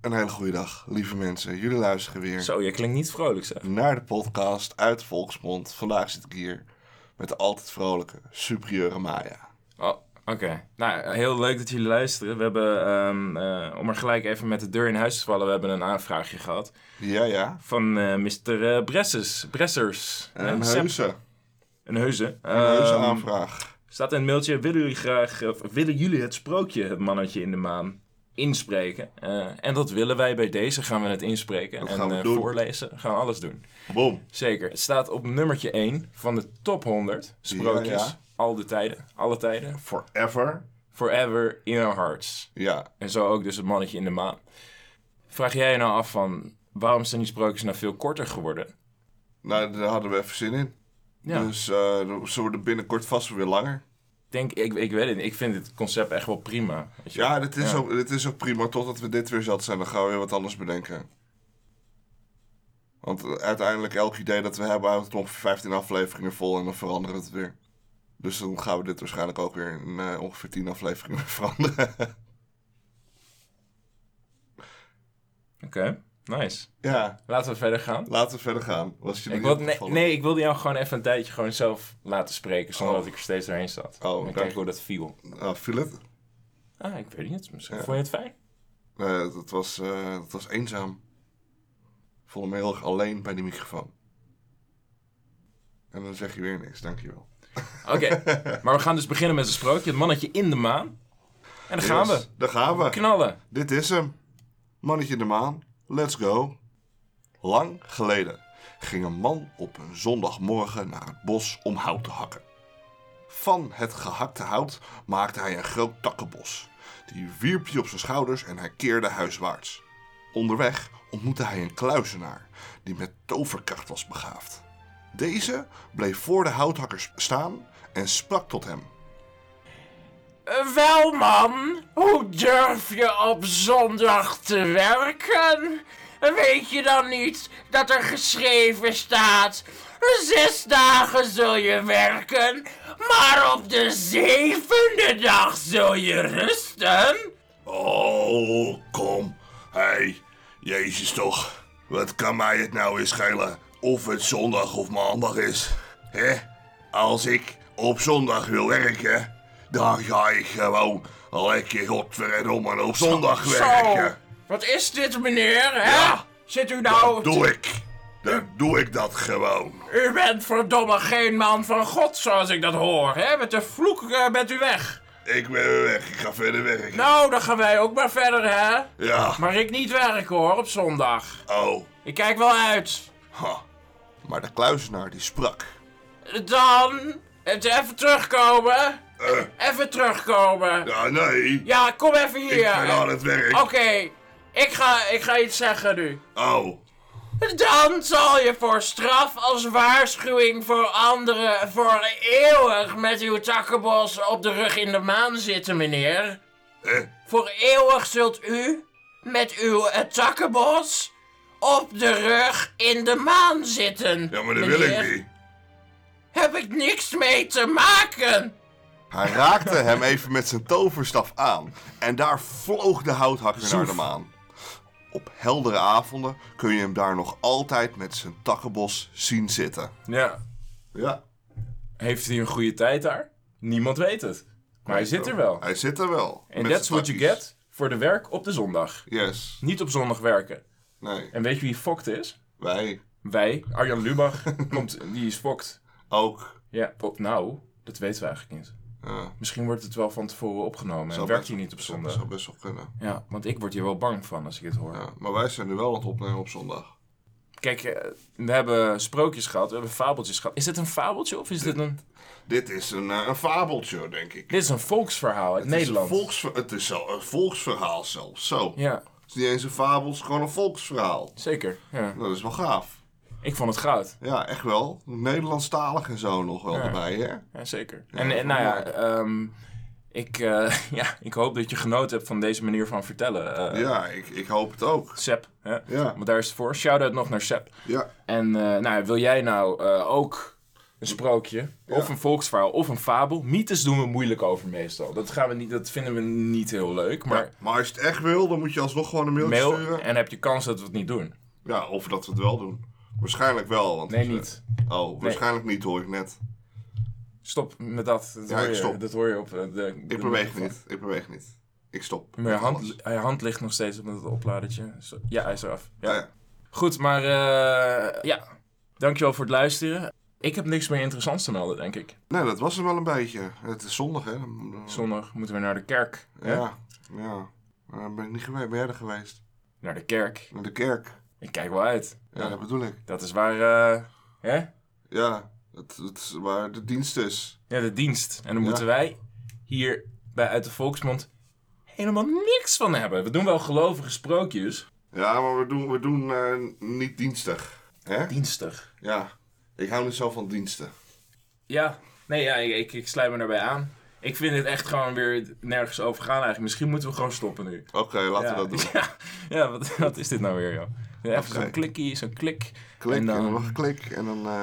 Een hele goede dag, lieve mensen. Jullie luisteren weer Zo, je klinkt niet vrolijk zeg. naar de podcast uit Volksmond. Vandaag zit ik hier met de altijd vrolijke, superieure Maya. Oh, oké. Nou, heel leuk dat jullie luisteren. We hebben, ehm, eh, om er gelijk even met de deur in huis te vallen, we hebben een aanvraagje gehad Ja, ja. van eh, Mr. eh Bresses, Bressers. En Eh, een Sepp- heuse, Een heuze. een heuse Ehm, aanvraag. Staat in het mailtje, willen jullie graag, of willen jullie het sprookje, het mannetje in de maan, inspreken? Eh, en dat willen wij bij deze, gaan we het inspreken Dat en gaan we eh, doen. voorlezen. Gaan we alles doen. Boom. Zeker. Het staat op nummertje 1 van de top 100 sprookjes. Ja, ja. Al de tijden, alle tijden. Forever. Forever in our hearts. Ja, En zo ook dus het mannetje in de maan. Vraag jij je nou af van, waarom zijn die sprookjes nou veel korter geworden? nou, daar hadden we even zin in. Ja. Dus eh, ze worden binnenkort vast weer langer. Ik denk, ik, ik weet het niet. Ik vind het concept echt wel prima. Weet je wel. Ja, dit is, Ja. Ook, dit is ook prima. Totdat we dit weer zat zijn, dan gaan we weer wat anders bedenken. Want eh, uiteindelijk, elk idee dat we hebben, houdt het ongeveer 15 afleveringen vol en dan veranderen we het weer. Dus dan gaan we dit waarschijnlijk ook weer in eh, ongeveer 10 afleveringen veranderen. Oké, nice. ja, Laten we verder gaan. laten we verder gaan. Was je er Ik niet wil, nee, opgevallen? nee, ik wilde jou gewoon even een tijdje gewoon zelf laten spreken, zonder Oh. dat ik er steeds doorheen zat. Oh, en dank. kijken hoe dat viel. Ah, viel het? Ah, ik weet niet. Misschien Ja. vond je het fijn? Nee, dat, was, eh, dat was eenzaam. Ik voelde me heel erg alleen bij die microfoon. En dan zeg je weer niks, dankjewel. Oké, maar we gaan dus beginnen met een sprookje. Het mannetje in de maan. En dan gaan Yes, we. Daar gaan we. Knallen. Dit is hem. Mannetje in de maan, let's go. Lang geleden ging een man op een zondagmorgen naar het bos om hout te hakken. Van het gehakte hout maakte hij een groot takkenbos. Die wierp hij op zijn schouders en hij keerde huiswaarts. Onderweg ontmoette hij een kluizenaar die met toverkracht was begaafd. Deze bleef voor de houthakkers staan en sprak tot hem. Eh, wel, man. Hoe durf je op zondag te werken? Weet je dan niet dat er geschreven staat: zes dagen zul je werken, maar op de zevende dag zul je rusten? Oh, kom. Hé, hey, jezus toch. Wat kan mij het nou eens schelen of het zondag of maandag is? Hè? Als ik op zondag wil werken, dan ga ik gewoon lekker godverdomme op zondag Zo, werken. wat is dit, meneer? Hè? Ja. Zit u nou. Dat doe ik. Dan doe ik dat gewoon. U bent verdomme geen man van God, zoals ik dat hoor, hè? Met de vloek eh, bent u weg. Ik ben weer weg. Ik ga verder werken. Nou, dan gaan wij ook maar verder, hè? Ja. Maar ik niet werken hoor, op zondag. Oh. Ik kijk wel uit. Ha. Maar de kluizenaar die sprak. Dan. het- Even terugkomen. Eh, Even terugkomen. ja, nee. Ja, kom even hier. Ik ben aan het werk. Oké, ik, ga, ik ga iets zeggen nu. Oh. Dan zal je voor straf als waarschuwing voor anderen voor eeuwig met uw takkenbos op de rug in de maan zitten, meneer. Eh, Voor eeuwig zult u met uw eh, takkenbos op de rug in de maan zitten. ja, maar dat meneer. wil ik niet. Heb ik niks mee te maken. Hij raakte hem even met zijn toverstaf aan. En daar vloog de houthakker naar de maan. Op heldere avonden kun je hem daar nog altijd met zijn takkenbos zien zitten. Ja, Ja, heeft hij een goede tijd daar? Niemand weet het. Maar hij zit er wel. hij zit er wel. En met that's zijn what you takkies. get voor de werk op de zondag. Yes. Niet op zondag werken. Nee, En weet je wie fokt is? wij Wij, Arjan Lubach, komt, die is fokt. ook. Ja, op nou, dat weten we eigenlijk niet. Ja, Misschien wordt het wel van tevoren opgenomen en werkt hij niet op dat zou zondag. best wel kunnen. Ja, want ik word hier wel bang van als ik dit hoor. Ja, maar wij zijn nu wel aan het opnemen op zondag. Kijk, eh, we hebben sprookjes gehad, we hebben fabeltjes gehad. Is dit een fabeltje of is dit een... Dit is een, eh, een fabeltje, denk ik. Dit is een volksverhaal uit Nederland. Het is, een volksver- het is zo- een volksverhaal zelfs. Zo. Ja, Het is niet eens een fabel, het is gewoon een volksverhaal. zeker. Ja. Dat is wel gaaf. Ik vond het goud. Ja, echt wel. Nederlandstalig en zo nog wel erbij, hè? Ja, zeker. en en, nou ja, ehm, ik, eh, ja, ik hoop dat je genoten hebt van deze manier van vertellen. eh Ja, ik, ik hoop het ook. Sep, hè? Ja. want daar is het voor. Shout-out nog naar Sep. Ja. En eh, nou, ja, wil jij nou eh, ook Een sprookje, of een volksverhaal, of een fabel. Mythes doen we moeilijk over meestal. Dat, gaan we niet, dat vinden we niet heel leuk, maar Maar als je het echt wil, dan moet je alsnog gewoon een mailtje mail sturen. en heb je kans dat we het niet doen. Ja, of dat we het wel doen. Waarschijnlijk wel, want... Nee, niet. Oh, waarschijnlijk niet hoor ik net. Stop met dat. Dat, Ja, hoor, ik je, stop. dat hoor je op eh, de... de Ik beweeg microfoon. niet, ik beweeg niet. Ik stop. Maar je Met hand, alles. je hand ligt nog steeds op dat opladertje. Zo- Ja, hij is eraf. Ja. Ja, ja. Goed, maar eh, ja. Dankjewel voor het luisteren. Ik heb niks meer interessants te melden, denk ik. Nee, dat was hem wel een beetje. Het is zondag, hè? Dan- Zondag moeten we naar de kerk. hè? Ja, ja. Maar Dan ben ik niet geweest, ben jij er geweest. Naar de kerk. Naar de kerk. Ik kijk wel uit. Ja, dat bedoel ik. Dat is waar, eh, hè? Ja, het, het is waar de dienst is. Ja, de dienst. En dan moeten wij hier bij Uit de Volksmond helemaal niks van hebben. We doen wel gelovige sprookjes. Ja, maar we doen, we doen eh, niet dienstig. Hè? Dienstig. Ja, ik hou niet zo van diensten. Ja, nee, ja, ik, ik, ik sluit me daarbij aan. Ik vind het echt gewoon weer nergens over gaan eigenlijk. Misschien moeten we gewoon stoppen nu. Oké, laten ja. we dat doen. Ja, ja wat, wat is dit nou weer, joh? Even Oké. zo'n klikkie, zo'n klik. Klik, en En dan, dan- nog klik, en dan... eh,